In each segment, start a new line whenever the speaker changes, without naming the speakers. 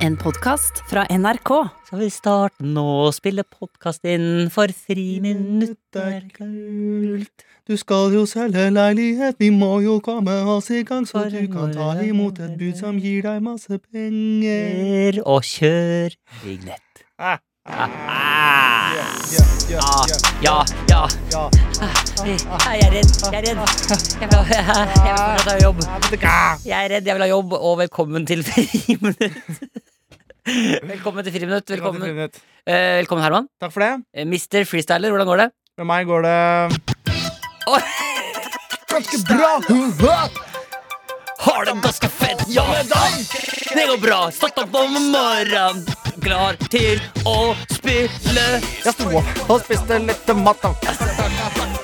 En podkast fra NRK.
Skal vi starte nå og spille podkast innenfor friminutt er kult?
Du skal jo selge leilighet, vi må jo komme oss i gang, så du kan ta imot et bud som gir deg masse penger.
Er og kjør vignett.
Ah,
Ah,
ja, ja,
ja, ja.
ja.
Ah, Jeg er redd, jeg er redd. Jeg vil ha- jeg vil fortsatt ha jobb. Jeg er redd, jeg vil ha jobb, og velkommen til friminutt. Velkommen til friminutt. Velkommen, Eh, velkommen Herman.
Takk for det.
Eh, Mr. Freestyler, hvordan går det?
Med meg går det
Oi,
ganske bra. Hurra!
har det ganske fett, ja. Det går bra. Stått opp om morgenen. Klar til å spille
Jeg sto opp og spiste litt mat.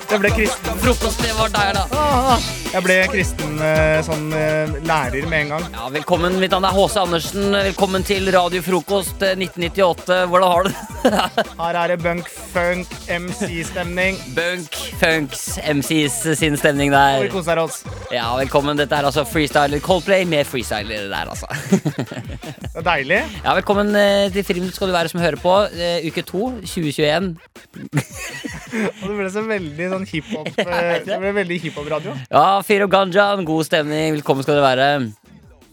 Jeg ble kristen.
Frokost, det var der, da.
Jeg ble kristen eh, sånn eh, lærer med en gang.
Ja, velkommen, mitt navn er H.C. Andersen. Velkommen til Radio Frokost eh, 1998. Hvordan har du det?
Her er det bunk, funk, MC-stemning.
Bunk, funks, MCs sin stemning
Og
der.
vi koser oss.
Ja, velkommen. Dette er altså freestyler Coldplay med freestyler der, altså.
Det er deilig.
Ja, velkommen eh, til Friminutt skal du være som hører på. Eh, Uke to, 2021.
Og det ble så veldig sånn hiphop eh, Det ble veldig hiphop-radio.
Ja, Fyr og ganjaen, god stemning. Velkommen skal du være.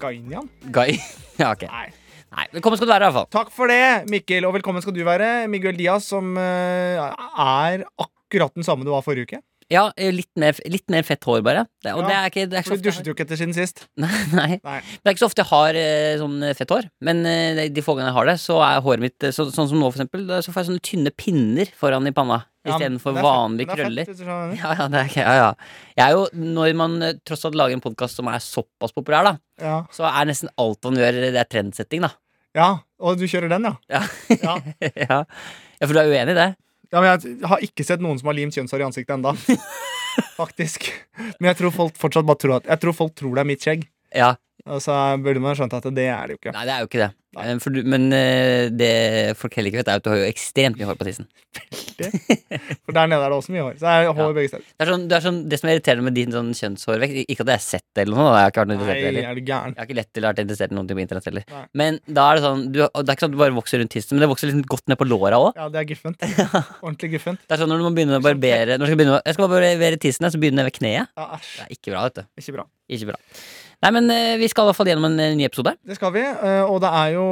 Ganyan?
Guy. Ja, ok.
Nei.
Nei, velkommen skal du være, i hvert fall.
Takk for det, Mikkel, og velkommen skal du være. Miguel Diaz, som eh, er akkurat den samme du var forrige uke.
Ja, eh, litt mer, litt mer fett hår, bare. Det, og
Ja,
det er ikke, det er ikke så
For
ofte
du
jeg
dusjet jo ikke etter siden sist.
har- Nei.
Nei.
Det er ikke så ofte jeg har eh, sånn eh, fett hår, men eh, de- de få gangene jeg har det, så er håret mitt eh, så, sånn som nå, for eksempel. da- Så får jeg sånne tynne pinner foran i panna
Ja,
istedenfor
det er fett,
vanlige
det er fett,
krøller.
hvis du skjønner.
Ja, ja, det er ikke, ja, ja. Jeg er jo, når man eh, tross alt lager en podkast som er såpass populær, da,
Ja.
så er nesten alt man gjør, det er trendsetting, da.
ja, og du kjører den, ja.
Ja.
Ja.
ja. ja, for du er uenig i det?
Ja, men Jeg har ikke sett noen som har limt kjønnshår i ansiktet enda Faktisk. Men jeg tror folk fortsatt bare tror at Jeg tror folk tror det er mitt skjegg.
Ja.
Og så burde man skjønt at det er det jo ikke.
Nei, det er jo ikke det.
Nei.
Eh, For du, men eh, det folk heller ikke vet, er at du har jo ekstremt mye hår på tissen.
For der nede er det også mye hår. Så er det hår begge steder.
Det er sånn, det, er sånn, det som er irriterende med din sånn kjønnshårvekst Ikke at jeg har sett det eller noe, da. jeg har ikke vært noe interessert i det
Nei,
heller.
er du gæren.
Jeg har ikke lett til å vært interessert i noen ting på internett heller.
Nei.
Men da er det sånn du, og Det er ikke sånn at du bare vokser rundt tissen, men det vokser liksom godt ned på låra òg.
Ja, det er guffent. Ordentlig guffent.
Det er sånn når du må begynne å barbere Når du skal begynne å, Jeg skal bare barbere tissen, så begynner jeg ved kneet.
Ja, æsj.
Det er ikke bra, vet du.
Ikke bra.
Ikke bra. Nei, men eh, vi skal i hvert fall gjennom en eh, ny episode.
Det skal vi, eh, og det er jo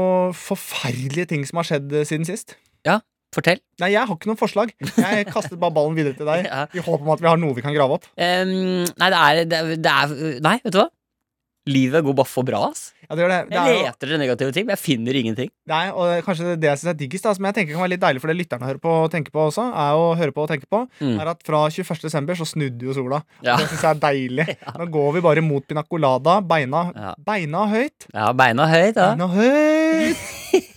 forferdelige ting som har skjedd eh, siden sist.
Fortell.
Nei, jeg har ikke noen forslag. Jeg kastet bare ballen videre til deg
Ja.
i håp om at vi har noe vi kan grave opp.
Em, Ehm, nei, det er, det, er, det er Nei, vet du hva? Livet går bare for bra, ass.
Ja, det gjør det. Det
Jeg
er jo,
leter etter negative ting, men jeg finner ingenting.
nei, og kanskje det er det jeg syns er diggest, da, som jeg tenker kan være litt deilig for det lytterne hører på og tenker på også, er å høre på og tenke på,
Mm.
er at fra 21. desember så snudde jo sola.
Ja.
Det syns jeg er deilig. Nå går vi bare mot pina colada. Beina,
Ja.
beina høyt.
Ja, beina høyt, da.
Beina høyt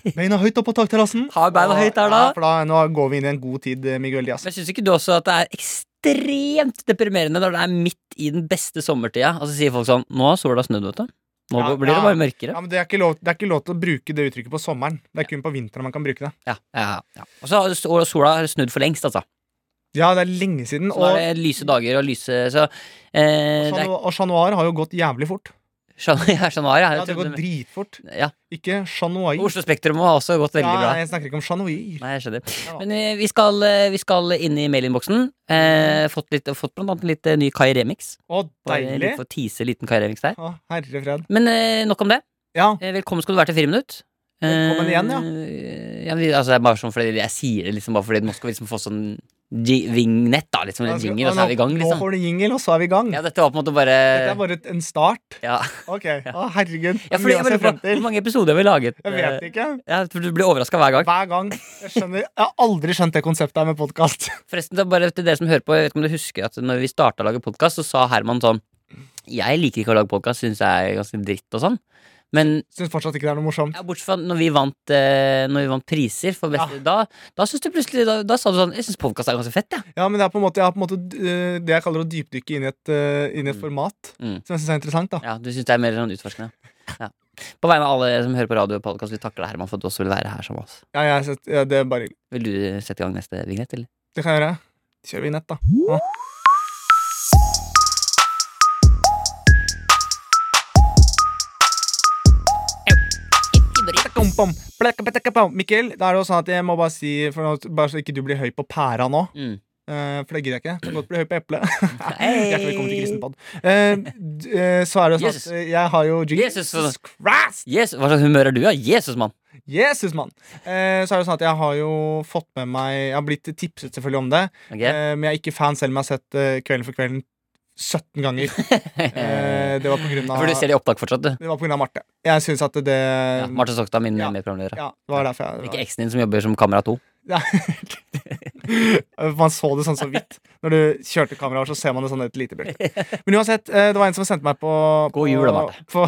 Beina høyt opp på takterrassen.
Har beina
Og-
høyt der,
Ja,
da.
for da nå går vi inn i en god tid, eh, Miguel Diaz.
Men syns ikke du også at det er ekstremt deprimerende når det er midt i den beste sommertida, og så sier folk sånn Nå har sola snudd, vet du. Nå
Ja,
blir det
ja.
bare mørkere.
Ja, men det er, ikke lov, det er ikke lov til å bruke det uttrykket på sommeren. Det er kun på vinteren man kan bruke det.
Ja, ja, ja. Og så har sol- sola har snudd for lengst, altså.
Ja, det er lenge siden.
Så nå
Og,
er det lyse dager og lyse Så eh,
Chat
det er
Noir- og sånn- Chat Noir har jo gått jævlig fort.
Chat- ja, Chat Noir, ja.
Ja,
Jeg
det
trodde
går
du-
dritfort.
ja.
Ikke Chat Noir.
Oslo Spektrum har også gått veldig
Ja,
bra.
jeg snakker ikke om Chat Noir.
Nei, jeg skjønner.
Ja.
Men eh, vi skal, eh, vi skal inn i mailinnboksen. Eh, fått, litt- fått blant annet litt eh, ny Kai Remix.
Å,
Bare
deilig.
litt for å tease liten Kai Remix der.
Å, herre fred.
Men eh, nok om det.
Ja,
Eh, Velkommen skal du være til Friminutt. Eh,
Velkommen igjen, ja.
eh, ja, vi- altså, det er bare sånn fordi jeg sier det liksom bare fordi nå skal vi liksom få sånn ji- vignett, da. Liksom en jingle, og så er vi i gang,
Nå
liksom.
får du jingle, og så er vi i gang.
Ja, dette var på en måte
Dette er
bare
bare et- en start.
Ja,
Ok, å herregud. Det
ja
er
fordi
mye
jeg
å se
lurer
frem
på hvor
til.
mange episoder har vi laget.
Jeg vet ikke.
Eh, Ja, for du blir overraska hver gang.
Hver gang. Jeg skjønner Jeg har aldri skjønt det konseptet her med podkast.
Forresten, det er bare til dere som hører på, jeg vet ikke om du husker at når vi starta å lage podkast, så sa Herman sånn Jeg liker ikke å lage podkast, syns jeg er ganske dritt og sånn. Men
Syns fortsatt ikke det er noe morsomt.
Ja, bortsett fra når vi vant, eh, når vi vant priser for beste Da, da syns du plutselig Da, da sa du sånn Jeg syns podkast er ganske fett, jeg.
Ja, men det er på en måte, jeg har på en månte, øh, det jeg kaller å dypdykke inn i et, øh, inn i et
Mm.
format.
Mm.
Som jeg syns er interessant. da
Ja. du syns det er mer sånn utforskende. Ja. På vegne av alle som hører på radio og podkast, vi takker deg, Herman, for at du også vil være her sammen med oss.
ja, jeg, synes- ja, Det er bare
Vil du sette i gang neste vignett, eller?
Det kan jeg gjøre. Kjører vi nett, da.
Ikke
Ja.
Britt.
Bom, bom, blekka, blekka, bom. Mikkel, det er jo sånn at jeg må bare si for nå, Bare så ikke du blir høy på pæra nå.
Mm.
eh, for det gidder jeg ikke. Du kan godt bli høy på eplet.
Hei.
Hjertelig velkommen til Kristenpod. Eh, d- eh, så er det jo sånn
Jesus.
at eh, jeg har jo
Jesus. altså.
Jesus Christ!
Jesus, hva slags humør er du, da? Jesus, mann.
Jesus, mann! Eh, så er det sånn at jeg har jo fått med meg Jeg har blitt tipset selvfølgelig om det,
Ok.
eh, men jeg er ikke fan selv om jeg har sett eh, Kvelden for kvelden 17 ganger. Eh, det var på grunn av
For du ser det i opptak fortsatt, du.
det var på grunn av Marte. Jeg syns at
Ja,
det
Marte Sokstad, min
Eh, Ja.
medprogramleder.
Ja, det var derfor jeg
Ikke eksen din som jobber som Kamera 2.
Man så det sånn så vidt. Når du kjørte kameraet, så ser man det sånn et lite blikk. Men uansett, eh, det var en som sendte meg på
God jul, da, Marte.
på,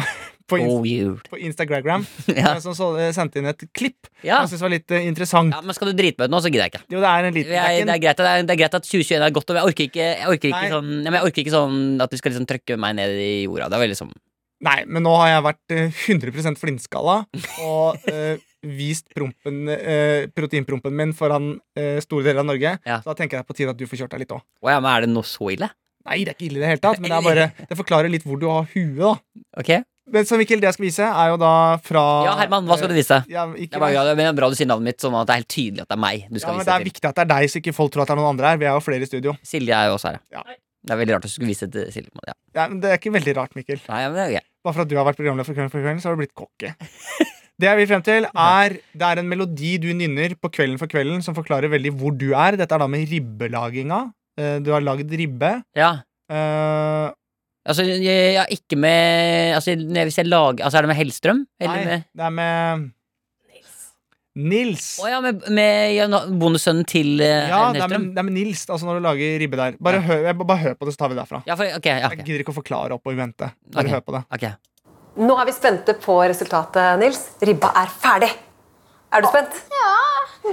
på, Inst-
God jul.
på Instagram.
Oh, Ja.
eh, Som så, eh, sendte inn et klipp
Ja.
som jeg syntes var litt eh, interessant.
ja, men skal du drite meg ut nå, så gidder jeg ikke.
Jo, det er en liten
Jeg, det,
det
er greit, det, er, det er greit at 2021 er godt over. Jeg orker ikke, jeg orker ikke,
Nei.
sånn, ja, men jeg orker ikke sånn at du skal liksom trykke meg ned i jorda. Det er veldig sånn
er- Nei, men nå har jeg vært eh, 100 flintskalla og eh, vist prompen, eh, proteinprompen min foran eh, store deler av Norge.
Ja.
Så da tenker jeg på tide at du får kjørt deg litt òg.
Å ja, men er det noe så ille?
Nei, det er ikke ille i det hele tatt, men det, er bare, det forklarer litt hvor du har huet, da.
Ok?
Men så Mikkel, det jeg skal vise, er jo da fra eh,
Ja, Herman, hva skal du vise?
Ja,
Det
ikke
er, bare,
meg.
ja, men det er bra du sier navnet mitt, sånn at det er helt tydelig at det er meg du
ja,
skal
men Det
vise
er
til.
viktig at det er deg, så ikke folk tror at det er noen andre her. Vi er jo flere i studio.
Silje er jo også her,
Ja.
Det er veldig rart at du skulle vise til Silje. men Ja.
Ja, men det er ikke veldig rart, Mikkel.
Nei, men det er greit.
Bare for at du har vært programleder for Kvelden for kvelden, så har du blitt kokke. Det jeg vil frem til, er det er en melodi du nynner på Kvelden for kvelden som forklarer veldig hvor du er. Dette er da med ribbelaginga. Eh, Du har lagd ribbe.
Ja.
Eh,
Altså, jeg, jeg er ikke med altså, jeg- Hvis jeg lager Altså, er det med Hellstrøm? Eller
Nei,
med
det er med Nils.
Å ja, med, med ja, na- bondesønnen til eh,
Ja, det er,
Hellstrøm?
med, det er med Nils, altså når du lager ribbe der. Bare,
Ja.
hør, jeg- bare hør på det, så tar vi det derfra.
Ja, for, ok, ja,
Jeg
ok,
gidder ikke å forklare opp og i vente. Bare
Ok.
hør på det.
ok.
Nå er vi spente på resultatet, Nils. Ribba er ferdig. Er du spent?
Ja.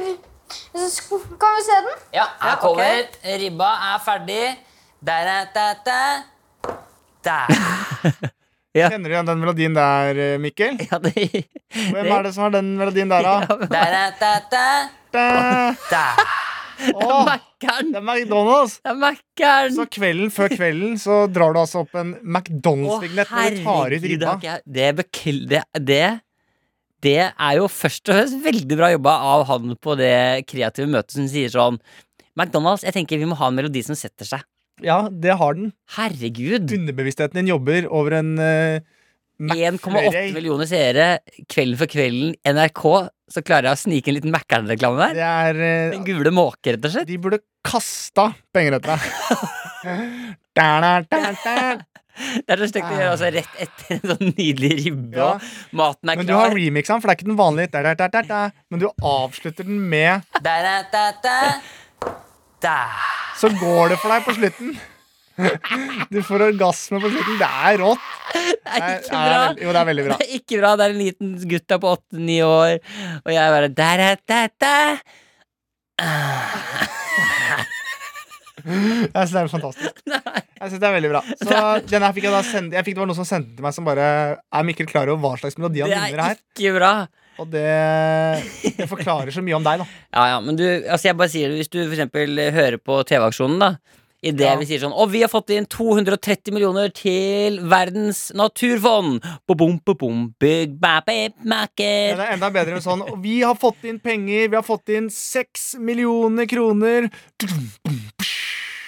Så sk- Kan vi se den?
Ja, her
ok.
kommer ribba, er ferdig. Der, er- der, der. Der. Ja.
Kjenner du igjen den melodien der, eh, Mikkel?
Ja, det,
Hvem er det som har den melodien der, da?
Der, er- der, der.
Da-
der.
Åh,
Mækkern!
det er McDonald's!
Det er Mækkern!
Så kvelden før kvelden så drar du altså opp en McDonald's-vignett når du tar ut
det,
ribba.
har ikke jeg- det, bekl- det, det, det er jo først og fremst veldig bra jobba av han på det kreative møtet som sier sånn McDonald's, jeg tenker vi må ha en melodi som setter seg.
Ja, det har den.
Herregud!
Underbevisstheten din jobber over en eh,
1,8 millioner seere, Kvelden for kvelden, NRK. Så klarer jeg å snike en liten Mækkern-reklame der.
Det er eh,
Den gule måke, rett og slett.
De burde kasta penger etter deg. Da, da, da, da.
Det er så stygt å gjøre altså, rett etter en sånn nydelig ribbe,
Ja.
og maten er
Men du har
klar.
remix den, for det er ikke den vanlige. Der, der, der, der, der. Men du avslutter den med
Der, er- der, der. Der.
Så går det for deg på slutten. Du får orgasme på slutten. Det er rått.
Det er ikke
er
bra.
veld- jo, det er veldig bra.
Det er ikke bra. Det er en liten gutt der på åtte-ni år, og jeg bare der, er- der, der.
Jeg synes det er fantastisk. Jeg synes det er veldig bra Så den her fikk jeg da sende, jeg fikk, Det var noen som sendte til meg som bare Er Mikkel klar over hva slags melodi han
Det er
nynner her?
ikke bra.
Og det, det forklarer så mye om deg, da.
Ja, ja, men du, altså jeg bare sier det, hvis du for eksempel hører på TV-aksjonen, da. I det
Ja.
vi sier sånn Og vi har fått inn 230 millioner til Verdens naturfond! Bo-bom, bo-bom, big bap-bap,
Men
macker.
det er enda bedre enn sånn «Og Vi har fått inn penger. Vi har fått inn seks millioner kroner.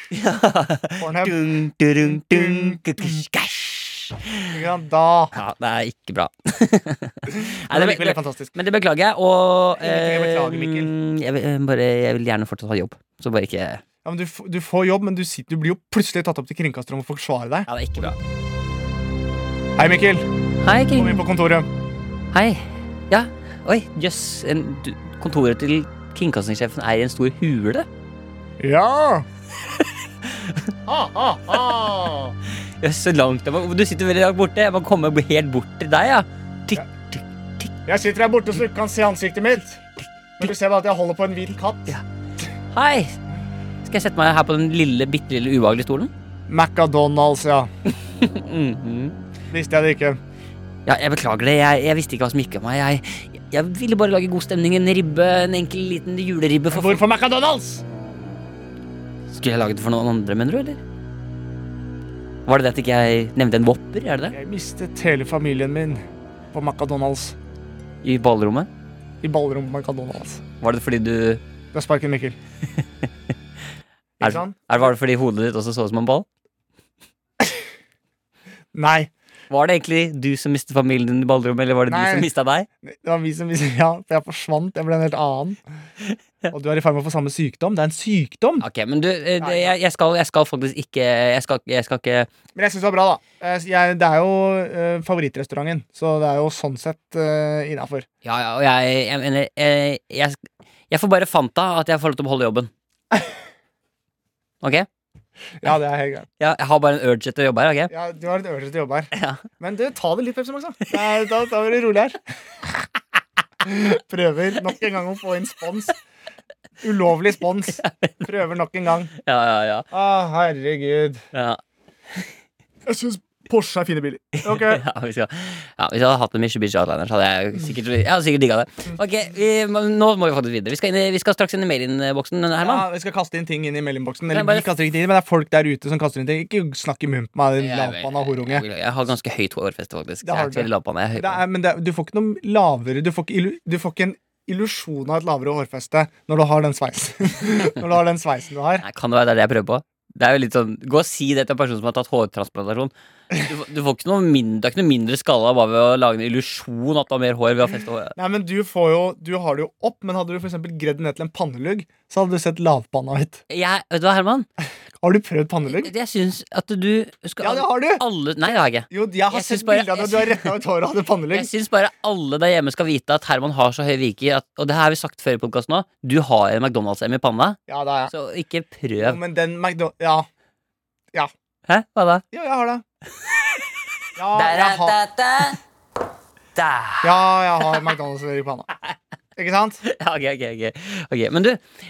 Pornhub.
Dun, dun, dun, kukush, kash.
ikke sant? Da
Ja, det er ikke bra. Nei,
Men
det,
likevel er
det,
fantastisk.
men det beklager jeg, og
Ingenting å beklage,
eh,
Mikkel.
Jeg, vil, eh, bare, jeg vil gjerne fortsatt ha jobb. Så bare ikke Ja,
Ja, men du, f- du får jobb, men du, sitter, du blir jo plutselig tatt opp til kringkaster om å forsvare deg.
det er ikke bra.
Hei, Mikkel.
Hei,
Kom
Kring.
inn på kontoret.
Hei. Ja, oi, jøss. en- du- Kontoret til kringkastingssjefen er i en stor hule.
Ja!
Jøss, så langt jeg må Du sitter veldig langt borte. Jeg må komme helt bort til deg, ja. Tikk, tikk.
Jeg sitter her borte så du ikke kan se ansiktet mitt. Men du ser bare at jeg holder på en hvit katt.
Hei! Skal jeg sette meg her på den lille, bitte lille ubehagelige stolen?
McDonald's, ja.
Mhm.
Visste jeg det ikke.
Ja, jeg beklager det. Jeg, jeg visste ikke hva som gikk av meg. Jeg, jeg ville bare lage god stemning. En ribbe, en enkel liten juleribbe. For
Hvorfor McDonald's?
Skulle jeg lage det for noen andre, mener du, eller? Var det det at ikke jeg nevnte en Whopper? Er det det?
Jeg mistet hele familien min på McDonald's.
I ballrommet?
I ballrommet på McDonald's.
Var det fordi du
Da sparker Mikkel.
er,
Ikke sant?
er, Var det fordi hodet ditt også så ut som en ball?
Nei.
Var det egentlig du som mistet familien din i ballrommet, eller var det
Nei.
du som mista deg?
Det var vi som vi, Ja, for jeg forsvant. Jeg ble en helt annen. Og du er i ferd med å få samme sykdom. Det er en sykdom!
Ok, men du, eh, det, jeg, jeg, skal, jeg skal faktisk ikke Jeg skal, jeg skal ikke
Men jeg syns det var bra, da. Eh, Jeg, det er jo eh, favorittrestauranten, så det er jo sånn sett uh, innafor.
Ja, ja, og jeg, jeg mener eh, jeg, jeg får bare fanta at jeg får lov til å beholde jobben. Ok?
Ja, det er helt greit.
Ja, jeg har bare en urge etter å jobbe her. ok?
Ja, du har litt øvelse til å jobbe her.
Ja.
Men du, ta det litt Pepsi Max, da. Det er- Da da var det rolig her. Prøver nok en gang å få inn spons. Ulovlig spons. Prøver nok en gang.
Ja, ja, ja.
Å, herregud.
ja.
Jeg syns Porsche er fine biler. Ok,
ja, hvis, jeg, ja, hvis jeg hadde hatt en Mitsubishi Outlander, så hadde jeg sikkert, jeg hadde sikkert digga det. Ok, vi, men Nå må vi faktisk videre. Vi skal, inn, i- vi skal straks inn i mailinnboksen,
ja,
Herman.
Vi skal kaste inn ting inn i mellomboksen.
Nei,
Eller
bare-
vi kaster ikke ting, men det er folk der ute som kaster inn ting. Ikke snakk i munnen på meg, din
Jeg-
lavpanna horunge.
Jeg, jeg har ganske høyt hårfeste, faktisk.
Det
Jeg
har
er ikke
du.
veldig lavpanne, jeg er
Det er,
høypanne.
men det er, du får ikke noe lavere Du får ikke, illu, du får ikke en illusjon av et lavere hårfeste når du har den sveisen. når du har den sveisen du har.
Nei, Kan det være det er det jeg prøver på? Det er jo litt sånn, Gå og si det til en person som har tatt hårtransplantasjon. Du, får- du får ikke noe mindre, det er ikke noe mindre skalla bare ved å lage en illusjon at du har mer hår ved å feste håret.
Nei, men du, får jo, du har det jo opp, men hadde du for eksempel gredd ned til en pannelugg, så hadde du sett lavpanna ut.
Jeg, vet du hva, Herman?
Har du prøvd pannelugg?
Jeg syns at du skal
Ja, det har du!
alle, Nei, det har jeg ikke.
Jo, jeg har
Jeg
sett
synes bare-
bilder av deg. Du har retta ut håret og hadde pannelugg.
Jeg syns bare alle der hjemme skal vite at Herman har så høy viker at, Og det her har vi sagt før i podkasten òg. Du har en McDonald's-M i panna,
Ja, det har jeg.
så ikke
Jo,
prøv.
men den McDo... Ja.
Hæ? Hva da?
Jo, jeg har det. Ja, jeg har, ja, jeg har McDonald's i panna. Ikke sant?
Ja, ok, ok, ok. ok. Men du,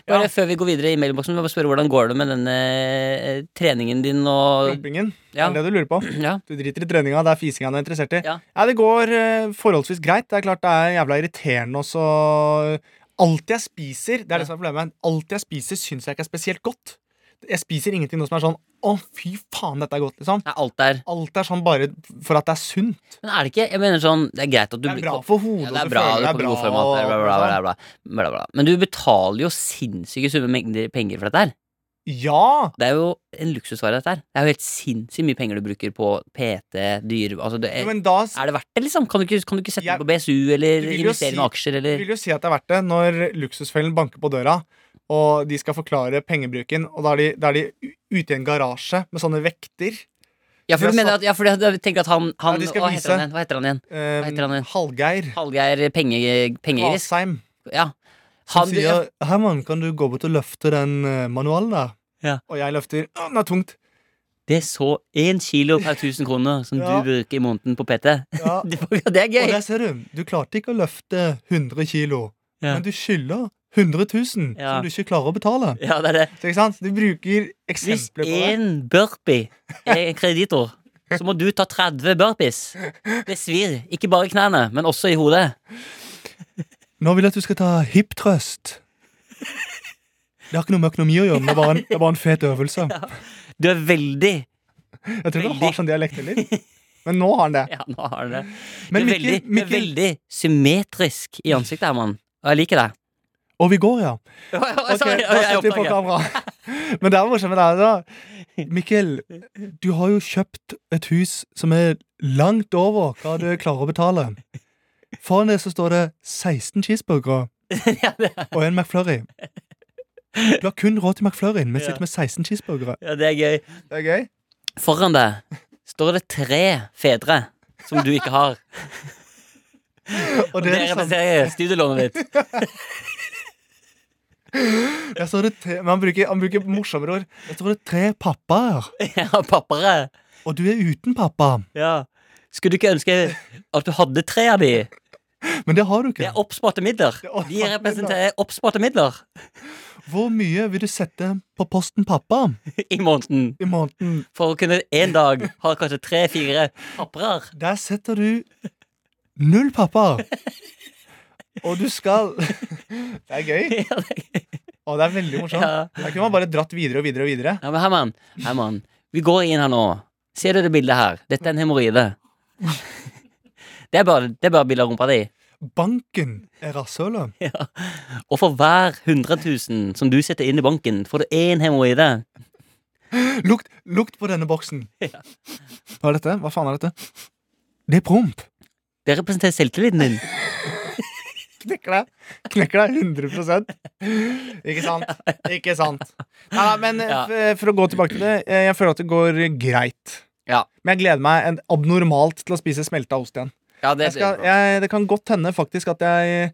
bare
Ja.
før vi går videre i mailboksen, må jeg bare spørre hvordan går det med denne eh, treningen din og
Rumpingen.
Ja.
Er det det du lurer på?
ja.
Du driter i treninga, det er fisinga du er interessert i.
Ja.
det går eh, forholdsvis greit. Det er klart det er jævla irriterende også. Alt jeg spiser, det er det som er problemet. Alt jeg spiser, syns jeg ikke er spesielt godt. Jeg spiser ingenting nå som er sånn Å, fy faen, dette er godt, liksom.
Er alt der.
Alt er sånn bare for at det er sunt.
Men er det ikke Jeg mener sånn, det er greit at du
Det er
blir-
bra for
ja,
hodet.
det
og
er
du
bra,
føler
du
deg
kommer i god
bra,
form og alt det der,
og-
bla, bla,
og
bla, bla, bla, bla. Men du betaler jo sinnssyke summer mengder penger for dette her.
sånn. Ja!
Det er jo en luksusvare, dette her. Det er jo helt sinnssykt mye penger du bruker på PT, dyre altså, det
Jo,
er,
Men da s-
er det verdt det, liksom? Kan du ikke, kan du ikke sette
Jeg-
det på BSU, eller
Du vil jo
investere i noen
si-
aksjer,
Jeg
eller
vil jo si at det er verdt det når luksusfellen banker på døra, og de skal forklare pengebruken, og da er de, da er de u- ute i en garasje med sånne vekter.
Ja, for
de
du
har
mener
satt-
at, ja, for jeg tenker at han, han
Ja, de skal
hva,
vise.
heter han igjen? hva heter han igjen?
Eh,
heter han igjen?
Hallgeir
Hallgeir penge, Pengeiris?
Asheim.
Ja.
Han
Han, ja,
sier 'Herman, kan du gå bort og løfte den eh, manualen der?'
Ja.
Og jeg løfter. «Å, 'Den er tungt'.
det er så én kilo per 1000 kroner som
Ja.
du bruker i måneden på PT.
Ja.
Det var- det er
Og
gøy!
der ser du. Du klarte ikke å løfte 100 kilo,
Ja.
men du skylder 100 000
Ja.
som du ikke klarer å betale.
Ja, det er det.
Så ikke sant? Du bruker
Hvis
eksempler på det.
én burpee er en kreditor, så må du ta 30 burpees. Det svir. Ikke bare i knærne, men også i hodet.
Nå vil jeg at du skal ta hiptrøst. Det har ikke noe med økonomi å gjøre, men det er bare en, det er bare en fet øvelse.
Du er veldig
Jeg tror ikke han
Veldig.
har sånn dialekt heller. Men nå har han det.
Ja, nå har du det. Du
Men
er
Mikkel,
veldig, du er
Mikkel
veldig symmetrisk i ansiktet, Herman. Og jeg liker deg.
Og vi går, ja.
Oi, oi, oi,
Ok,
sorry,
da
oi, jeg
setter vi på
oppdager.
kamera. Men det er morsomt med deg, da. Mikkel, du har jo kjøpt et hus som er langt over hva du klarer å betale. Foran det så står det 16 cheeseburgere
Ja, det er-
og en McFlurry. Du har kun råd til McFlurryen, men
Ja.
sitter med 16 cheeseburgere.
ja, det er gøy.
Det er gøy.
Foran deg står det tre fedre som du ikke har. Og
Og det
det
er liksom- det samme.
representerer studielånet ditt.
Der står det tre, men han bruker, han bruker morsommere ord. Der står det tre pappaer,
Ja, pappere.
og du er uten pappa.
Ja. Skulle du ikke ønske at du hadde tre av de?
Men det har du
Det
ikke.
er oppsparte midler.
Det er oppsparte
De representerer oppsparte midler
Hvor mye vil du sette på posten pappa
i måneden.
i måneden?
For å kunne en dag ha kanskje tre-fire papperer.
Der setter du null pappaer. Og du skal Det er gøy.
Ja, det er gøy.
Og det er veldig morsomt.
Ja.
Der kunne man bare dratt videre og videre og videre.
Ja, men Herman, Herman, vi går inn her nå. Ser du det bildet her? Dette er en hemoroide. Det er bare, det er bare bilde av rumpa di.
Banken er rasshølet.
Og for hver 100 000 som du setter inn i banken, får du én hemoroide.
Lukt, lukt på denne boksen. Hva er dette? Hva faen er dette? Det er promp.
Det representerer selvtilliten din.
Knekker deg. Knekker deg 100 Ikke sant? Ikke sant. Nei, nei, men eh,
Ja.
f- for å gå tilbake til det, eh, jeg føler at det går greit.
Ja.
Men jeg gleder meg en, abnormalt til å spise smelta ost igjen.
Ja, det,
Jeg skal, jeg, det kan godt hende faktisk at jeg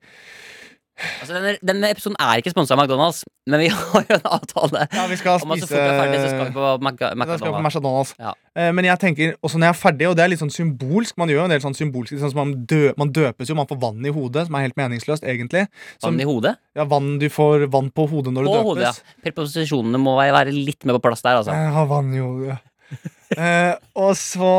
altså, denne, denne episoden er ikke sponsa av McDonald's, men vi har jo en avtale
Ja, vi skal
om at så fort vi er ferdig, så skal vi
spise
på Mac-
Da skal jeg på
McDonald's.
McDonald's.
Ja.
Eh, Men jeg tenker også når jeg er ferdig, og det er litt sånn symbolsk Man gjør jo en del sånn symbolsk sånn som man, dø, man døpes jo, man får vann i hodet, som er helt meningsløst, egentlig. Som,
Vann i hodet?
ja, vann, du får vann på hodet når
På
du døpes.
hodet, ja. Preposisjonene må være- være litt mer på plass der, altså.
Jeg har vann i hodet. Eh, og så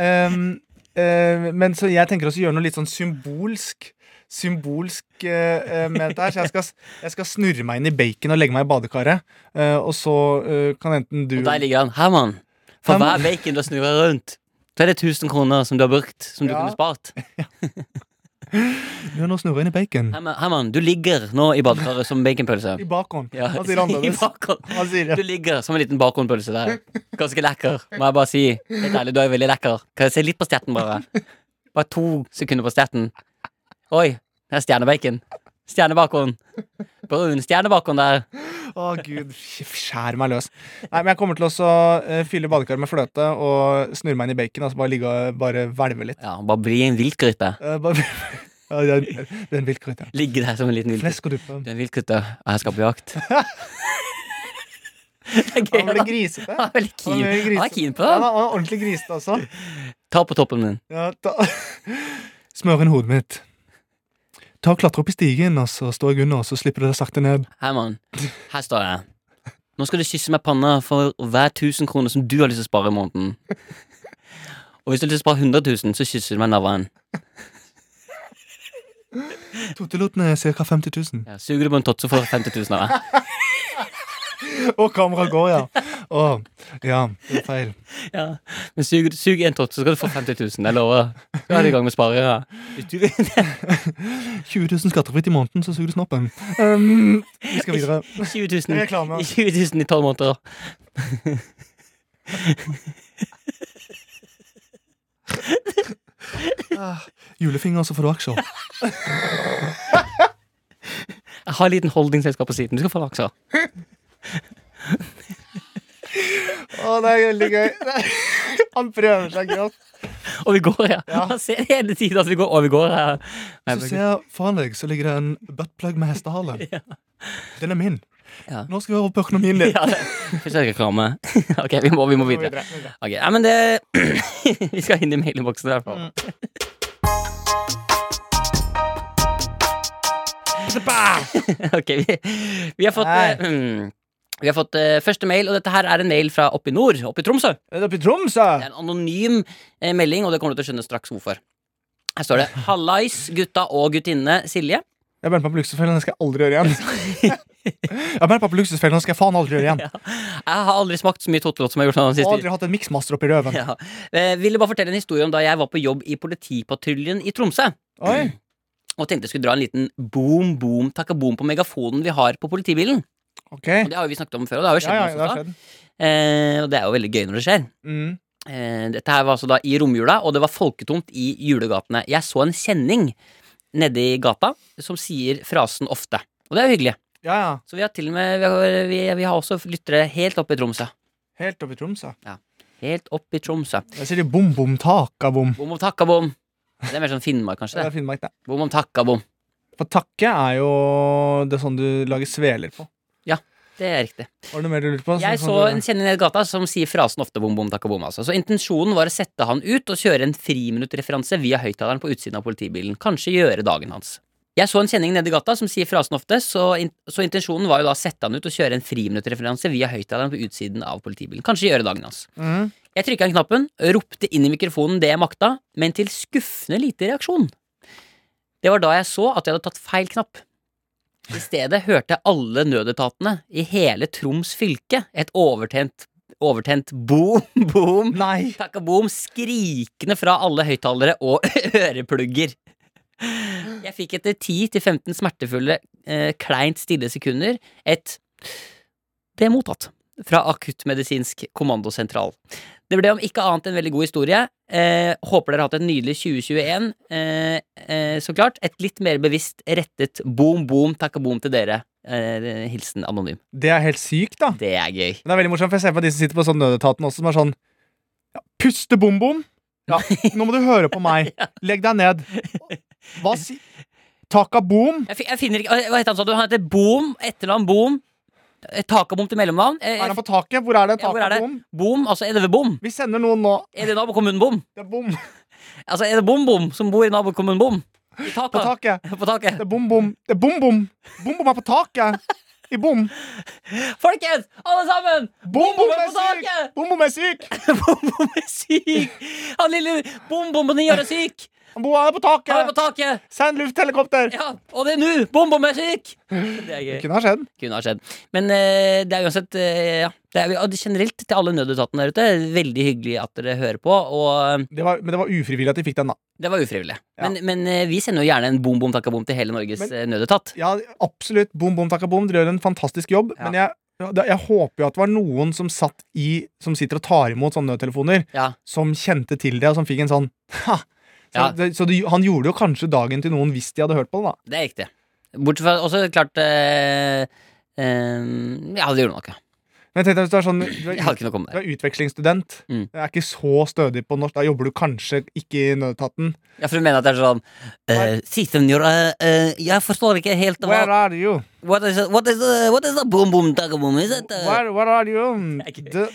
ehm, eh, Men så jeg tenker også å gjøre noe litt sånn symbolsk. Symbolsk eh, eh, med dette her. Så jeg skal, jeg skal snurre meg inn i bacon og legge meg i badekaret. Eh, og så eh, kan enten du
Og der ligger han. Her, mann. For
Her, mann.
hver bacon du snurrer rundt, så er det 1000 kroner som du har brukt, som du
Ja.
kunne spart.
Gjør noe snurre inn i bacon.
Her, mann- her, mann. Du ligger nå i badekaret som baconpølse.
I bakånd.
Ja,
Han sier det
i
annerledes.
bakgrunnen.
Han sier
Du
det.
ligger som en liten bakonpølse der. Ganske lekker, må jeg bare si. Helt ærlig, du er veldig lekker. Kan jeg se litt på stjerten, bare? Bare to sekunder på stjerten. Oi, det er stjernebacon. Stjernebakon. Brun stjernebakon der.
Å, gud. Skjær meg løs. Nei, men jeg kommer til å så, eh, fylle badekaret med fløte og snurre meg inn i bacon. Altså bare ligge og bare hvelve litt.
Ja, bare bli en viltgrype.
Eh, bare, ja, den, den viltkrøyta.
Ligge der som en liten viltgrype.
Flesk og duppe.
Du er en viltgrype, og jeg skal på jakt. Det er gøy.
Han ble
da.
grisete.
Han er veldig
Han
keen.
ble grisete.
Han er keen på
Ja,
det.
han var ordentlig grisete også.
Ta på toppen min.
Ja, ta... Smør inn hodet mitt. Ta og Klatre opp i stigen, og så står jeg under, og så slipper du deg sakte ned.
Hei, mann. Her står jeg. Nå skal du kysse meg i panna for hver 1000 kroner som du har lyst til å spare i måneden. Og hvis du har lyst til å spare 100 000, så kysser du meg i navlen.
Toteloten er ca. 50 000.
Ja, suger du på en tott, så får du 50 000 av meg.
Og kameraet går, ja. Å, ja, det er feil.
Ja. Men sug, sug en tott, så skal du få 50 000. Jeg lover. Så er du i gang med å spare. Ja. Hvis du vil
20 000 skattefritt i måneden, så suger du snoppen. Um, vi skal videre.
20 000,
Jeg er klar med altså. det.
20 000 i tolv måneder.
Julefinger, så får du aksjer.
Jeg har en liten holdingselskap på siden. Du skal få lakser.
Å, det er veldig gøy. Han prøver seg grått.
Og vi går, ja. Man ser det hele tiden at vi går, og vi går. Ja. Nei,
Så ser jeg foran deg, så ligger det en buttplug med hestehale. Den er min.
Ja.
Nå skal vi over på økonomien din.
Ja, det Først er det reklame. Ok, vi må, vi må videre. Ok, nei, men det Vi skal inn i mailboksen i hvert fall. Ok, vi, vi har fått
Nei.
eh, mm, Vi har fått eh, første mail, og dette her er en mail fra oppe i nord. Oppe i Tromsø.
Er det oppe i Tromsø?
Det er en anonym eh, melding, og det kommer du til å skjønne straks hvorfor. Her står det 'Hallais, gutta og guttinne Silje'.
Jeg brenner på luksusfellen, det skal jeg aldri gjøre igjen. jeg brenner på luksusfellen, det skal jeg faen aldri gjøre igjen.
Jeg har aldri smakt så mye tottelott som jeg har gjort den
Og
siste
aldri hatt en miksmaster oppi røven.
Ja. Eh, Ville bare fortelle en historie om da jeg var på jobb i politipatruljen i Tromsø.
Oi.
Og tenkte jeg skulle dra en liten boom, boom, takka boom på megafonen vi har på politibilen.
Ok.
Og det har jo vi snakket om før, og det har jo
Ja,
skjedd.
ja,
masse
det
da.
har skjedd.
Eh, og det er jo veldig gøy når det skjer.
Mm.
Eh, dette her var altså da i romjula, og det var folketomt i julegatene. Jeg så en kjenning nede i gata som sier frasen ofte. Og det er jo hyggelig.
Ja, ja.
Så vi har til og med Vi har, vi, vi har også lyttere helt oppe i Tromsø.
Helt oppe i Tromsø.
Helt oppe i Tromsø.
Der sier de bom, bom, taka, bom.
Bom om takka bom. Det er mer sånn Finnmark,
Det
kanskje.
er
det
Finnmark, det.
Bom om takka bom.
For takke er jo det er sånn du lager sveler på.
Det er riktig.
Var det noe mer du lurte på?
Jeg
Sånn
så
du-
en kjenning nede i gata som sier frasen ofte bom, bom, takka, bom. Altså. Så intensjonen var å sette han ut og kjøre en friminuttreferanse via høyttaleren på utsiden av politibilen. Kanskje gjøre dagen hans. Jeg så en kjenning nede i gata som sier frasen ofte, så, in så intensjonen var jo da å sette han ut og kjøre en friminuttreferanse via høyttaleren på utsiden av politibilen. Kanskje gjøre dagen hans.
Mm.
Jeg trykka inn knappen, ropte inn i mikrofonen det jeg makta, men til skuffende lite reaksjon. Det var da jeg så at jeg hadde tatt feil knapp. I stedet hørte jeg alle nødetatene i hele Troms fylke et overtent, overtent boom, boom,
Nei!
takka boom, skrikende fra alle høyttalere og øreplugger. Jeg fikk etter 10-15 smertefulle, eh, kleint stille sekunder et Det er mottatt fra akuttmedisinsk kommandosentral. Det ble om ikke annet en veldig god historie. Eh, håper dere har hatt et nydelig 2021. Eh, eh, så klart. Et litt mer bevisst rettet boom, boom, takka boom til dere. Eh, hilsen anonym.
Det er helt sykt, da.
Det er gøy.
Men det er veldig morsomt, for jeg ser på de som sitter på sånn nødetaten også, som er sånn ja, Puste bom-bom! Ja, nå må du høre på meg. Legg deg ned. Hva si... Taka boom?
Jeg, fi- jeg finner ikke Hva heter han sa du? Han heter Boom. Etternavn Boom. Eh, Takabom til mellomnavn. Eh,
Er han på taket? Hvor er det?
ja, hvor er
Taka
det?
boom?
Boom, altså er det ved Bom?
Vi sender noen nå.
Er det nabokommunen Bom?
Det er bom
Altså er det Bom-Bom som bor i nabokommunen Bom? I taka.
på taket.
På taket.
Det er bom-bom. Det er bom-bom. Bom-bom er på taket. I bom.
Folkens, alle sammen!
Bom-bom
er
er
på
syk!
taket!
Bom-bom er syk!
Bom-Bom er syk! Han lille Bom-Bom på ni år er syk!
Han bor- han er på
Han er på
taket!
taket!
Send lufthelikopter!
Ja, Og det er nå! Bom-Bom er syk! Det er gøy.
Kunne ha skjedd.
kunne ha skjedd. Men eh, det er uansett eh, ja. det er, og Generelt til alle nødetatene der ute, veldig hyggelig at dere hører på. Og eh,
Det var, men det var ufrivillig at de fikk den, da.
det var ufrivillig.
Ja.
Men, men eh, vi sender jo gjerne en bom, bom, takka bom til hele Norges
Men-
eh, nødetat.
Ja, absolutt. Bom, bom, takka bom. Dere gjør en fantastisk jobb.
Ja.
Men jeg, ja, det- jeg håper jo at det var noen som satt i Som sitter og tar imot sånne nødtelefoner,
Ja.
som kjente til det, og som fikk en sånn ha. Så,
Ja.
det, så det, han gjorde jo kanskje dagen til noen hvis de hadde hørt på det, da.
Det er riktig. Bortsett fra også klart eh, eh, Ja, det gjorde noe.
Men jeg tenkte hvis du er sånn Du
Jeg hadde
er,
ikke noe
du
kommet der.
er utvekslingsstudent.
Mm.
Du er ikke så stødig på norsk. Da jobber du kanskje ikke i nødetaten.
Ja, for du mener at det er sånn eh, Si, senior, eh, eh, jeg forstår ikke helt
Where
hva
are you?
What is, what is, the- what is the boom, boom, takka boom? Is it, eh,
Where, where are you?
er ikke-
The,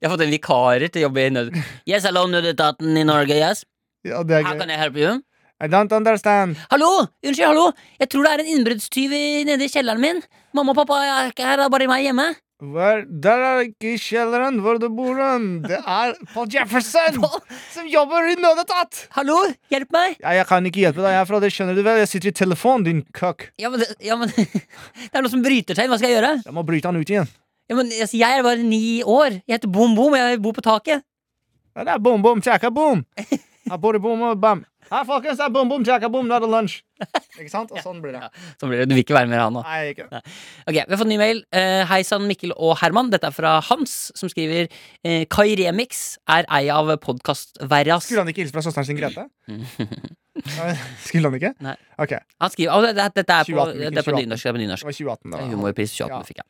Jeg har fått en vikarer til å jobbe i nød... Yes, hello, nødetaten i Norge, yes.
ja, det er
How
gøy.
can I help you?
I don't understand.
Hallo! Unnskyld, hallo! Jeg tror det er en innbruddstyv i- nede i kjelleren min. Mamma og pappa er ikke her, det er bare meg hjemme.
Hvor, der er ikke kjelleren hvor du bor. hen. Det er Paul Jefferson
Paul-
som jobber i Nødetat!
Hallo! Hjelp meg!
Ja, jeg kan ikke hjelpe deg herfra, det skjønner du vel. Jeg sitter i telefonen, din køkk.
Ja, men, det- ja, men Det er noe som bryter seg inn. Hva skal jeg gjøre?
Jeg må bryte han ut igjen.
Ja, men, altså, jeg er bare ni år. Jeg heter Bom Bom, jeg bor på taket.
Ja, Det er bom, bom, tjekka, bom. Her bor det bom og bam. Her, folkens, det er bom, bom, tjekka, bom, nå er det lunsj. Ikke sant? Og sånn blir det.
Så blir det, Du vil ikke være med han nå.
Nei, ikke det.
Ok, Vi har fått en ny mail. Eh, Hei sann, Mikkel og Herman. Dette er fra Hans, som skriver eh, Kai Remix er ei av podkastverjas.
Skulle han ikke hilse fra søsteren sin, Grete? Nei, Skulle han ikke?
Nei.
Ok, det
Han skriver, altså, det- Dette er på,
2018,
det
Mikkel,
er på
2018.
nynorsk. Det er på nynorsk.
var 2018.
Det
da.
er Humorpris 2018
Ja.
fikk jeg.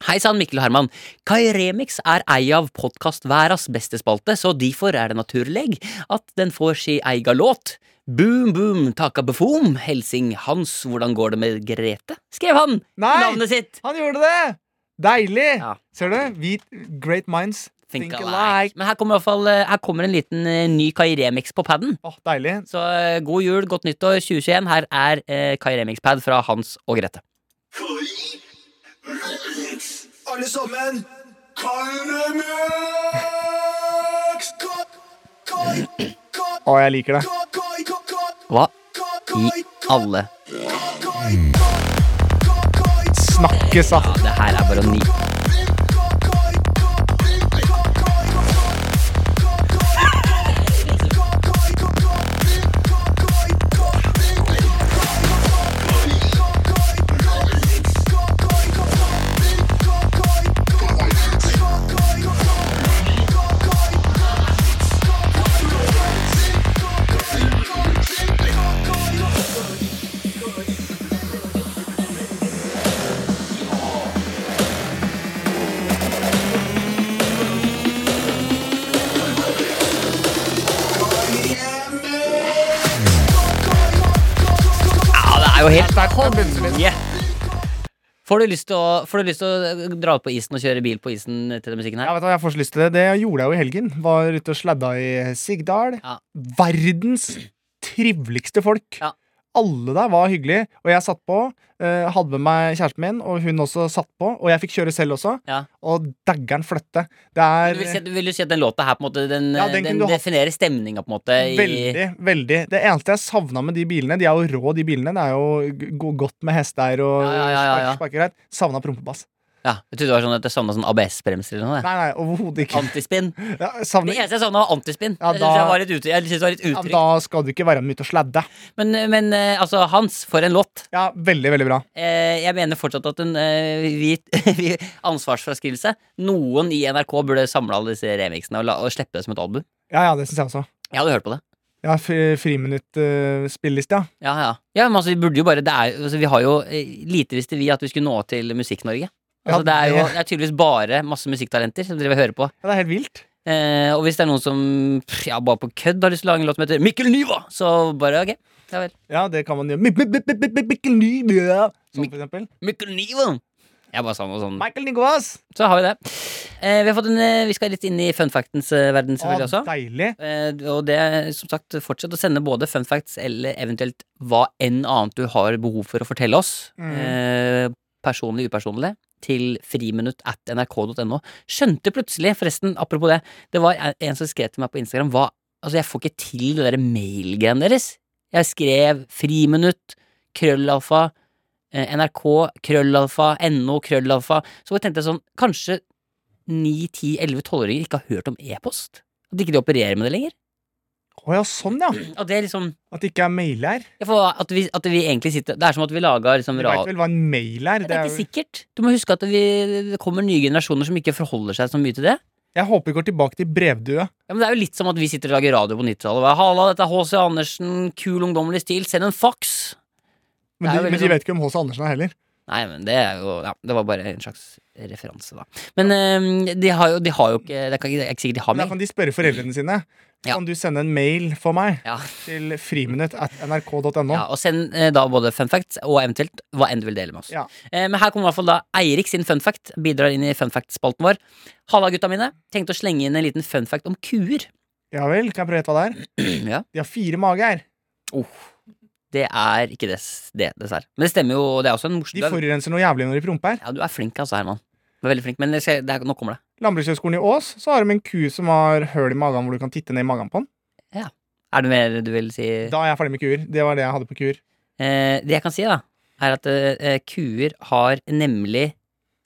Hei sann, Mikkel og Herman. Kai Remix er ei av podkastverdas beste spalte, så derfor er det naturleg at den får si eiga låt. Boom, boom, taka befoom, helsing Hans, hvordan går det med Grete? skrev han i
Nei!
navnet sitt.
Han gjorde det! Deilig!
Ja.
Ser du? Vi, great minds think,
Think
alike.
alike. Men her kommer, i hvert fall, eh, her kommer en liten eh, ny Kai Remix på paden.
Åh, deilig.
Så eh, god jul, godt nyttår 2021. Her er eh, Kai Remix-pad fra Hans og Grete.
Alle sammen, Kairemix! Kai, kai, kai,
Å, jeg liker det.
kai, kai, kai, kai,
Hva i
kai,
alle
kai, kai, kai,
Snakkes, da.
Det her er bare å nyte. Ja, det er jo helt konge! Får du, lyst til å, får du lyst til å dra ut på isen og kjøre bil på isen til den musikken
Ja,
her?
vet du, hva, jeg får så lyst til det. Det gjorde jeg jo i helgen. Var ute og sladda i Sigdal.
Ja.
Verdens triveligste folk.
Ja.
Alle der var hyggelige, og jeg satt på. eh, hadde med meg kjæresten min, og hun også satt på. Og jeg fikk kjøre selv også.
Ja.
Og daggeren fløtte. Det
Du vil, si,
er
at- vil du si at den låta her på en måte Den,
Ja, den
den,
kunne du hatt.
definerer stemninga, på en måte? I,
veldig, veldig Det eneste jeg savna med de bilene, de er jo rå, de bilene. Det er jo go- godt med hesteeier og
Ja, ja, ja, ja, ja.
spark- sparkereit. Savna prompebass.
Ja, jeg trodde det var sånn at jeg savna sånn ABS-bremser eller noe. jeg.
Nei, nei, overhodet ikke.
Antispinn.
Ja,
Det
savner,
eneste jeg savna, var antispinn.
Ja,
Jeg
da-
synes det var litt uttrykk. Jeg synes det var litt
ja,
uttrykk.
da skal du ikke være med ut og sladde.
Men, men eh, altså, Hans, for en låt.
Ja, veldig, veldig bra.
Eh, jeg mener fortsatt at en eh, vi, vi, ansvarsfraskrivelse Noen i NRK burde samle alle disse remixene og, la, og slippe det som et album.
Ja, ja, det syns jeg også.
Jeg hadde hørt på det.
Ja, fri- Friminutt-spilleliste, ja.
Ja, ja. ja men altså, vi burde jo bare det er, jo- altså, Vi har jo eh, Lite visste vi at vi skulle nå til Musikk-Norge. Altså,
Ja,
det er jo
det-
det er tydeligvis bare masse musikktalenter som driver og hører på.
ja. Det er helt vilt.
Eh, og hvis det er noen som pff, ja, bare på kødd har lyst til å lage en låt som heter Mikkel Niva, så bare ok. Ja vel.
Ja, det kan man gjøre. Mi- mi- mi- mi- mi- Mikkel Nygaard. Sånn, for eksempel.
Mikkel Niva! Jeg bare sa noe sånn.
Michael Nicoas!
Så har vi det. Eh, vi, har fått en, eh, vi skal litt inn i fun factens eh, verden, selvfølgelig også.
deilig.
Eh, og det, som sagt, fortsett å sende både fun facts eller eventuelt hva enn annet du har behov for å fortelle oss,
Mm.
eh, personlig, upersonlig, til friminutt at nrk.no. Skjønte plutselig, forresten, apropos det, det var en- en som skrev til meg på Instagram hva, Altså, jeg får ikke til det derre mailgreiene deres. Jeg skrev friminutt, krøllalfa, eh, nrk, krøllalfa, no, krøllalfa. Så jeg tenkte jeg sånn, kanskje 9, 10, 11, 12-åringer ikke har hørt om e-post? At ikke de opererer med det lenger.
Å ja, sånn, ja.
At det er liksom
At det ikke er mail her.
jeg får, at, vi, at vi egentlig sitter Det er som at vi lager liksom
Du
ra-
veit vel hva en mail er?
Det er
jo-
ikke sikkert. Du må huske at vi, det kommer nye generasjoner som ikke forholder seg så mye til det.
jeg håper vi går tilbake til brevdue.
Ja, men Det er jo litt som at vi sitter og lager radio på 90-tallet. og bare, Halla, dette er H.C. Andersen. Kul, ungdommelig stil. Send en fax!
Men,
Det er jo
de, men
veldig sånn-
de vet ikke hvem H.C. Andersen er heller.
Nei, men det er jo ja, Det var bare en slags referanse, da. Men eh, de, har jo, de har jo ikke Det er ikke det er ikke sikkert de har
Men da
meg.
kan de spørre foreldrene sine.
Ja.
Kan du sende en mail for meg
Ja.
til friminutt at nrk.no?
Ja, og send eh, da både fun facts og eventuelt hva enn du vil dele med oss.
Ja.
Eh, men her kommer i hvert fall da Eirik sin fun fact. Bidrar inn i fun fact-spalten vår. Halla, gutta mine. Tenkte å slenge inn en liten fun fact om kuer.
Ja vel, kan jeg prøve å gjette hva det er?
ja.
De har fire mager.
Det er ikke det, det dessverre. Men det stemmer jo, og det er også en morsom
De forurenser noe jævlig når de promper.
Ja, du er flink, altså, Herman. Du er veldig flink, men det skal, det er, nå kommer det.
Landbrukshøgskolen i Ås så har de en ku som har høl i magen hvor du kan titte ned i magen på den.
Er det mer du vil si?
Da er jeg ferdig med kuer. Det var det jeg hadde på kuer.
Eh, det jeg kan si, da, er at eh, kuer har nemlig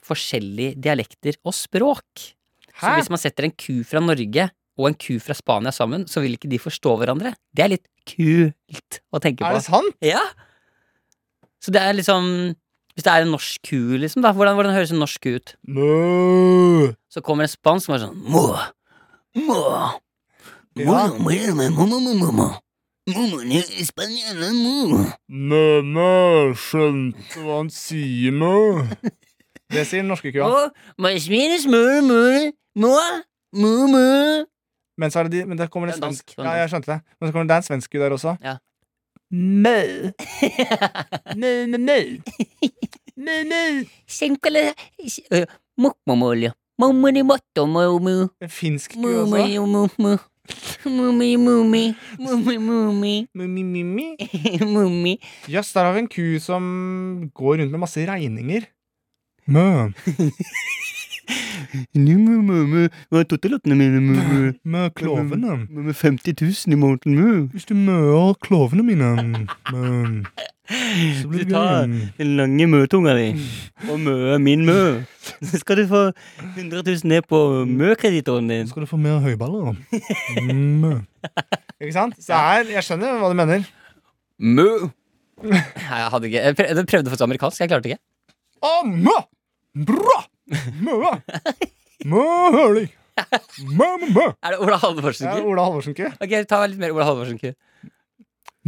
forskjellige dialekter og språk. Så
Hæ?
hvis man setter en ku fra Norge og en ku fra Spania sammen, så vil ikke de forstå hverandre. Det er litt kult å tenke
Er
på.
det sant?
Ja! Så det er liksom Hvis det er en norsk ku, liksom, da, hvordan, hvordan høres en norsk ku ut?
Mø.
Så kommer en spansk som er sånn Må, må, må,
Ja.
må, må, må, må, må, må. Må, må, ni, spanjole, må.
Mø, mø. Skjønte hva han sier, mø. Det sier den norske kua.
Må, må, smile, smule, mule, må, må, må.
Men så er det de, men det kommer
Det
en
er dansk.
svensk. Ja, jeg skjønte det. Men så kommer det en svensk ku der også.
Ja.
Mø. Mø, mø, mø. Mø, mø.
Senkele, eh, mokmomolje. Momoni, mottomomu.
En finsk ku også.
Mummi, mummi. Mummi, mummi. Mummi, mummi.
Mø, mi, mi, mi.
Mummi.
Jøss, der har vi en ku som går rundt med masse regninger. Mø.
Mummu, mummu, hva er totelattene mine, mummu?
Mø klovene.
Mummu, 50 000 i måneden, mummu.
Hvis du møer klovene mine, mø, så
Du
blir det
tar
gøy.
den lange møtunga di,
Mm.
og mø er min mø. Så skal du få 100 000 ned på mø-kreditoren din.
Skal du få mer høyballer? Mø. Ikke sant? Så her, jeg skjønner hva du mener.
Mø. Nei, jeg hadde ikke Jeg prøvde, jeg prøvde å få til amerikansk, jeg klarte ikke.
Å, mø! Bra! Mø! Mø høli. Mø, mø, mø.
Er det Ola
Det er
Halvorsen-ku?
Ola Halvorsen-ku.
Ok, ta litt mer Ola Halvorsen-ku.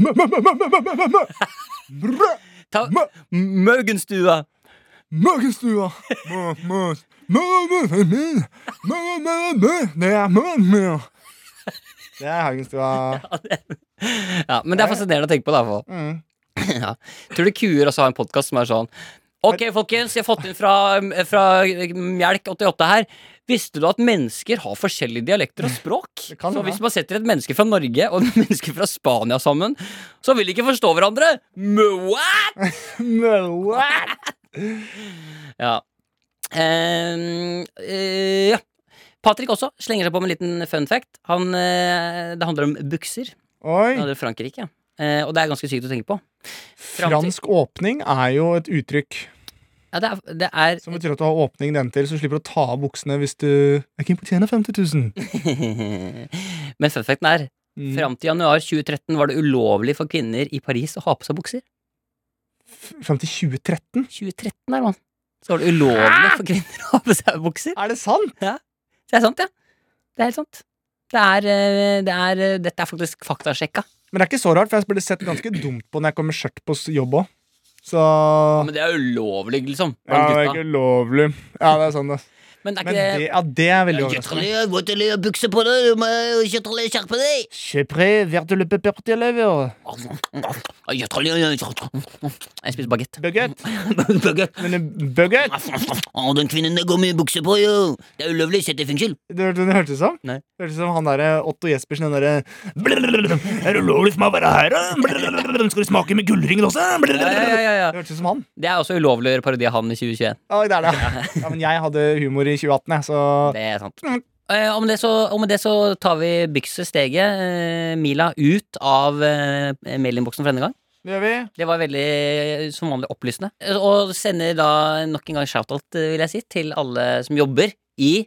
Mø, mø, mø, mø, mø, mø, mø, mø. Bra!
Ta
Mø.
Møgenstua.
Møkenstua. Mø, mø. Mø, mø, mø, mø. Mø, mø, mø. Det er mø, mø. Det er Haugenstua.
Ja, men det er fascinerende å tenke på, da. i hvert fall.
Mm.
Ja. Tror du kuer også har en podkast som er sånn Ok, folkens, jeg har fått inn fra, fra Mjelk88 her. Visste du at mennesker har forskjellige dialekter og språk?
Det kan
Så
det
hvis
være.
man setter et menneske fra Norge og et menneske fra Spania sammen, så vil de ikke forstå hverandre. Mwah!
Mø.
Ja. Ehm, eh, ja. Patrick også slenger seg på med en liten fun fact. Han, eh, det handler om bukser. Det
Oi.
handler om Frankrike. Eh, og det er ganske sykt å tenke på.
Fransk åpning er jo et uttrykk.
Ja, det er, det er
Som betyr at du har åpning nedentil, så du slipper å ta av buksene hvis du Jeg kan tjene 50 000.
Men fun facten er
Mm.
fram til januar 2013 var det ulovlig for kvinner i Paris å ha på seg bukser.
Fram til 2013?
2013 er det, mann. Så var det ulovlig for kvinner å ha på seg bukser.
Er det sant?
Så det er sant, ja. Det er helt sant. Det er, eh, det er, eh, dette er faktisk faktasjekka.
Men det er ikke så rart, for jeg ble sett ganske dumt på når jeg kom med skjørt på s- jobb òg. Så
Men det er ulovlig, liksom.
Ja,
Blant
det er
gutta.
ikke ulovlig. Ja, det er sånn, det.
Men det er
Men
ikke
det,
det
ja, det er veldig overraskende.
Kjøttdeig, våtdeig, bukse på deg, du må kjøttdeig, skjerpe deg! Jeg spiser bagett.
Bugget.
Bagett.
Men eh, bugget?
Å, den kvinnen der går med bukse på, jo! Det er ulovlig, sett i fengsel!
Du hørte hva det hørtes ut som?
Nei.
Det hørtes ut som han derre Otto Jespersen, den derre Er det ulovlig for meg å være her, da? Blablabla, Skal du smake med gullringen også?
Ja,
Blablabla.
ja, ja, ja.
Det hørtes ut som han.
Det er også ulovlig å gjøre parodi av han i 2021.
Ja, det er det. Ja, men jeg hadde humor i 2018, jeg, så
Det er sant. Eh, og, med det så, og med det så tar vi Bykse steget, eh, Mila, ut av eh, mailinnboksen for denne gang.
Det gjør vi.
Det var veldig eh, som vanlig opplysende. Eh, Og sender da nok en gang shoutout, eh, vil jeg si, til alle som jobber i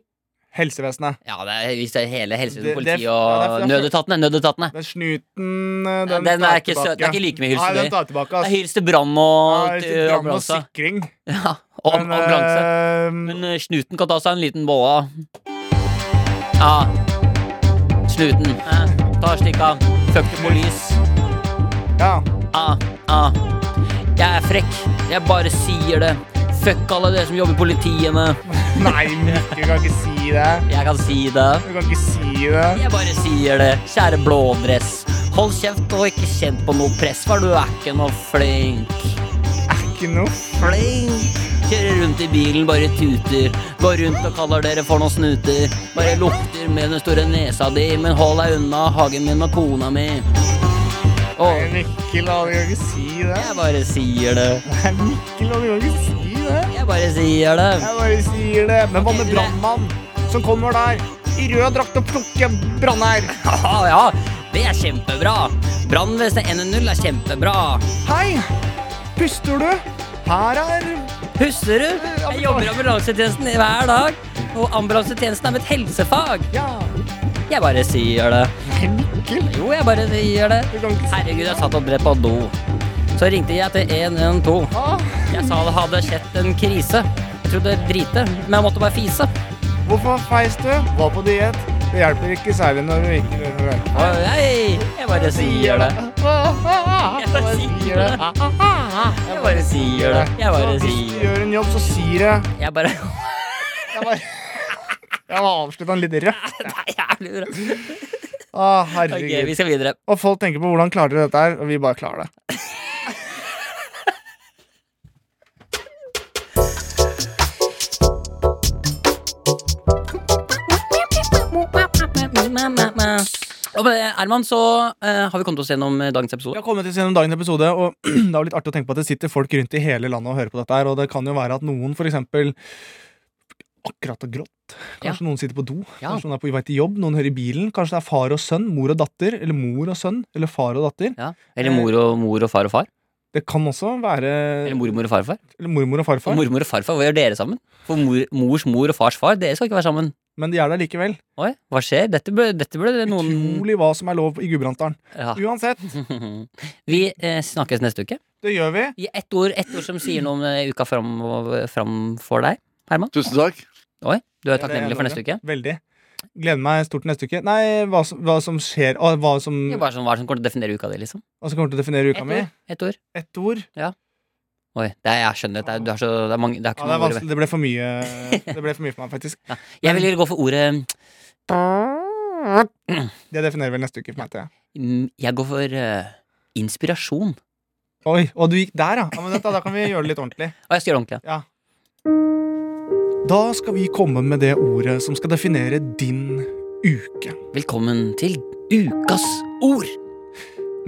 Helsevesenet.
Ja, det er, hvis det er hele helsevesenet,
Det- det-
politiet
ja, det er-
og nødetatene. nødetatene.
Den snuten, eh, den,
Den er
tar jeg
ikke sø-
tilbake.
det er ikke like mye hilsen
Nei, den
i.
tar jeg tilbake,
Det er
ass.
Hils til brann og
Nei,
til
til
eh,
brann og
ambulanse.
sikring.
Ja, og am-
Men,
ambulanse.
eh,
Men eh, snuten kan ta seg en liten bolle av. Ja. Snuten. Eh, ta stikka. Fuck the police.
Ja.
Ah, ah. Jeg er frekk. Jeg bare sier det. Fuck alle dere som jobber i politiene.
Nei, Mikke, du kan ikke si det.
Jeg kan si det.
Du kan ikke si det.
Jeg bare sier det. Kjære blådress. Hold kjeft og ikke kjenn på noe press, for du er ikke noe flink.
Ikke noe.
flink. Kjører rundt i bilen, bare tuter. Går rundt og kaller dere for noen snuter. Bare lukter med den store nesa di, men hold deg unna hagen min og kona mi.
Nei,
Og
Mikkel, da, du kan ikke si det.
jeg bare sier det.
Nei, Mikkel, da, du kan ikke si det.
Jeg bare sier det.
Jeg bare sier det. Men hva med
Ok, dere-
brannmann som kommer der i rød drakt og plukker brannheir?
Ja, ja. Det er kjempebra. Brannvesenet 110 er kjempebra.
Hei! Puster du? Her er
Husker du? Jeg jobber i ambulansetjenesten hver dag. Og ambulansetjenesten er mitt helsefag.
Ja,
Jeg bare sier det.
Mikkel.
Jo, jeg bare sier det.
Du kan ikke si
Herregud, jeg satt og drev på do. Så ringte jeg til 112.
Ah,
Jeg sa det hadde skjedd en krise. Jeg trodde drite, men jeg måtte bare fise.
Hvorfor feis du? Var på diett. Det hjelper ikke særlig når du ikke gjør det.
Og jeg, jeg bare sier det.
Jeg
Jeg bare sier det. Jeg bare sier det. Jeg bare
Så Hvis du
sier det.
gjør en jobb, så sier jeg
Jeg bare
Jeg bare Jeg må avslutte den litt rødt.
Det er jævlig bra.
Å,
Ok,
herregud.
vi skal videre.
Og folk tenker på hvordan klarer dere dette her, og vi bare klarer det.
Og med det, Herman, så eh, har vi kommet oss gjennom eh, dagens
Vi
episode.
har kommet til gjennom dagens episode, og det er jo litt artig å tenke på at det sitter folk rundt i hele landet og hører på dette her, og det kan jo være at noen for eksempel akkurat har grått.
Ja.
Kanskje noen sitter på do,
Ja.
kanskje noen er på vei til jobb, noen hører i bilen, kanskje det er far og sønn, mor og datter, eller mor og sønn, eller far og datter.
Ja. Eller mor og mor og far og far.
Det kan også være
Eller mormor og farfar.
eller mormor og
Og
farfar,
mormor og farfar, hva gjør dere sammen? For mor, mors mor og fars far, dere skal ikke være sammen.
men de er der likevel.
Oi, hva skjer? Dette ble, dette ble det noen
Utrolig hva som er lov i Gudbrandsdalen.
ja.
Uansett,
Vi eh, snakkes neste uke.
det gjør vi.
Gi ett ord, ett ord som sier noe om eh, uka fram, framfor deg, Herman.
Tusen takk.
Oi, du er
Det er det jeg
takknemlig for neste
lover.
uke.
Veldig. Gleder meg stort til neste uke. Nei, hva som, hva som skjer, og hva som,
Det er bare sånn, Hva er det som kommer til å definere uka di, liksom?
hva som kommer til å definere
Ett
uka mi.
ord. Ett ord.
Ett ord.
Oi, det er, jeg skjønner at det er, du har så, det er mange, det er
Ja,
ikke
det, er
noe ord.
vanskelig. det ble for mye Det ble for mye for meg, faktisk.
Jeg vil gå for ordet
Det definerer vel neste uke for meg. Til.
mm, Jeg går for eh, inspirasjon.
Oi, og du gikk der, ja. ja men dette, da kan vi gjøre det litt ordentlig.
Og jeg skal gjøre det ordentlig.
Ja. Da skal vi komme med det ordet som skal definere din uke.
ja. Velkommen til ukas ord.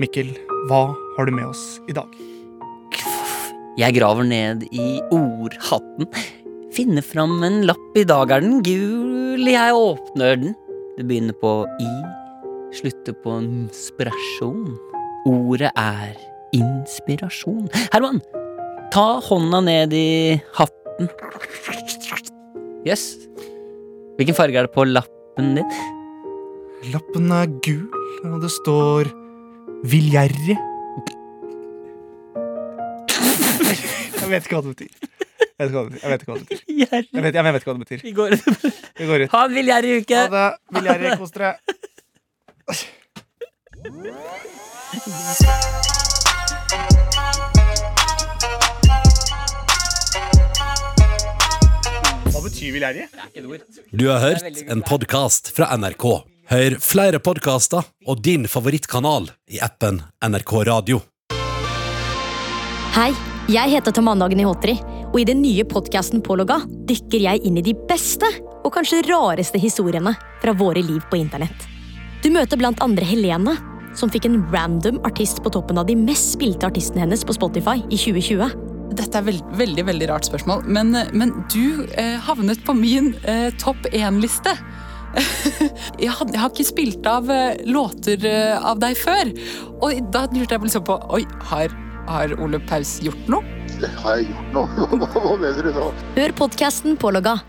Mikkel, hva har du med oss i dag?
Jeg graver ned i ordhatten. Finner fram en lapp, i dag er den gul, jeg åpner den. Det begynner på i, slutter på inspirasjon. Ordet er inspirasjon. Herman, Ta hånda ned i hatten. Jøss. Yes. Hvilken farge er det på lappen din?
Lappen er gul, og det står Viljerri. Jeg vet ikke hva det betyr. Jeg vet ikke hva det betyr. Jeg vet ikke hva det betyr. Jeg vet, jeg vet ikke hva det betyr.
Vi går
Vi går ut.
Ha en villgjerrig uke!
Ha det. Viljerri, kos dere. Hva betyr Viljerri?
Du har hørt en podkast fra NRK. Hør flere podkaster og din favorittkanal i appen NRK Radio.
Hei, jeg heter Tamanna Gnihotri, og i den nye podcasten Pålogga dykker jeg inn i de beste og kanskje rareste historiene fra våre liv på internett. Du møter blant andre Helene, som fikk en random artist på toppen av de mest spilte artistene hennes på Spotify i 2020.
Dette er veld, veldig veldig rart spørsmål, men, men du eh, havnet på min eh, topp én-liste. jeg, had, jeg har ikke spilt av eh, låter eh, av deg før. Og da lurte jeg liksom på Oi, har, har Ole Paus gjort noe?
Hør podcasten Pålogga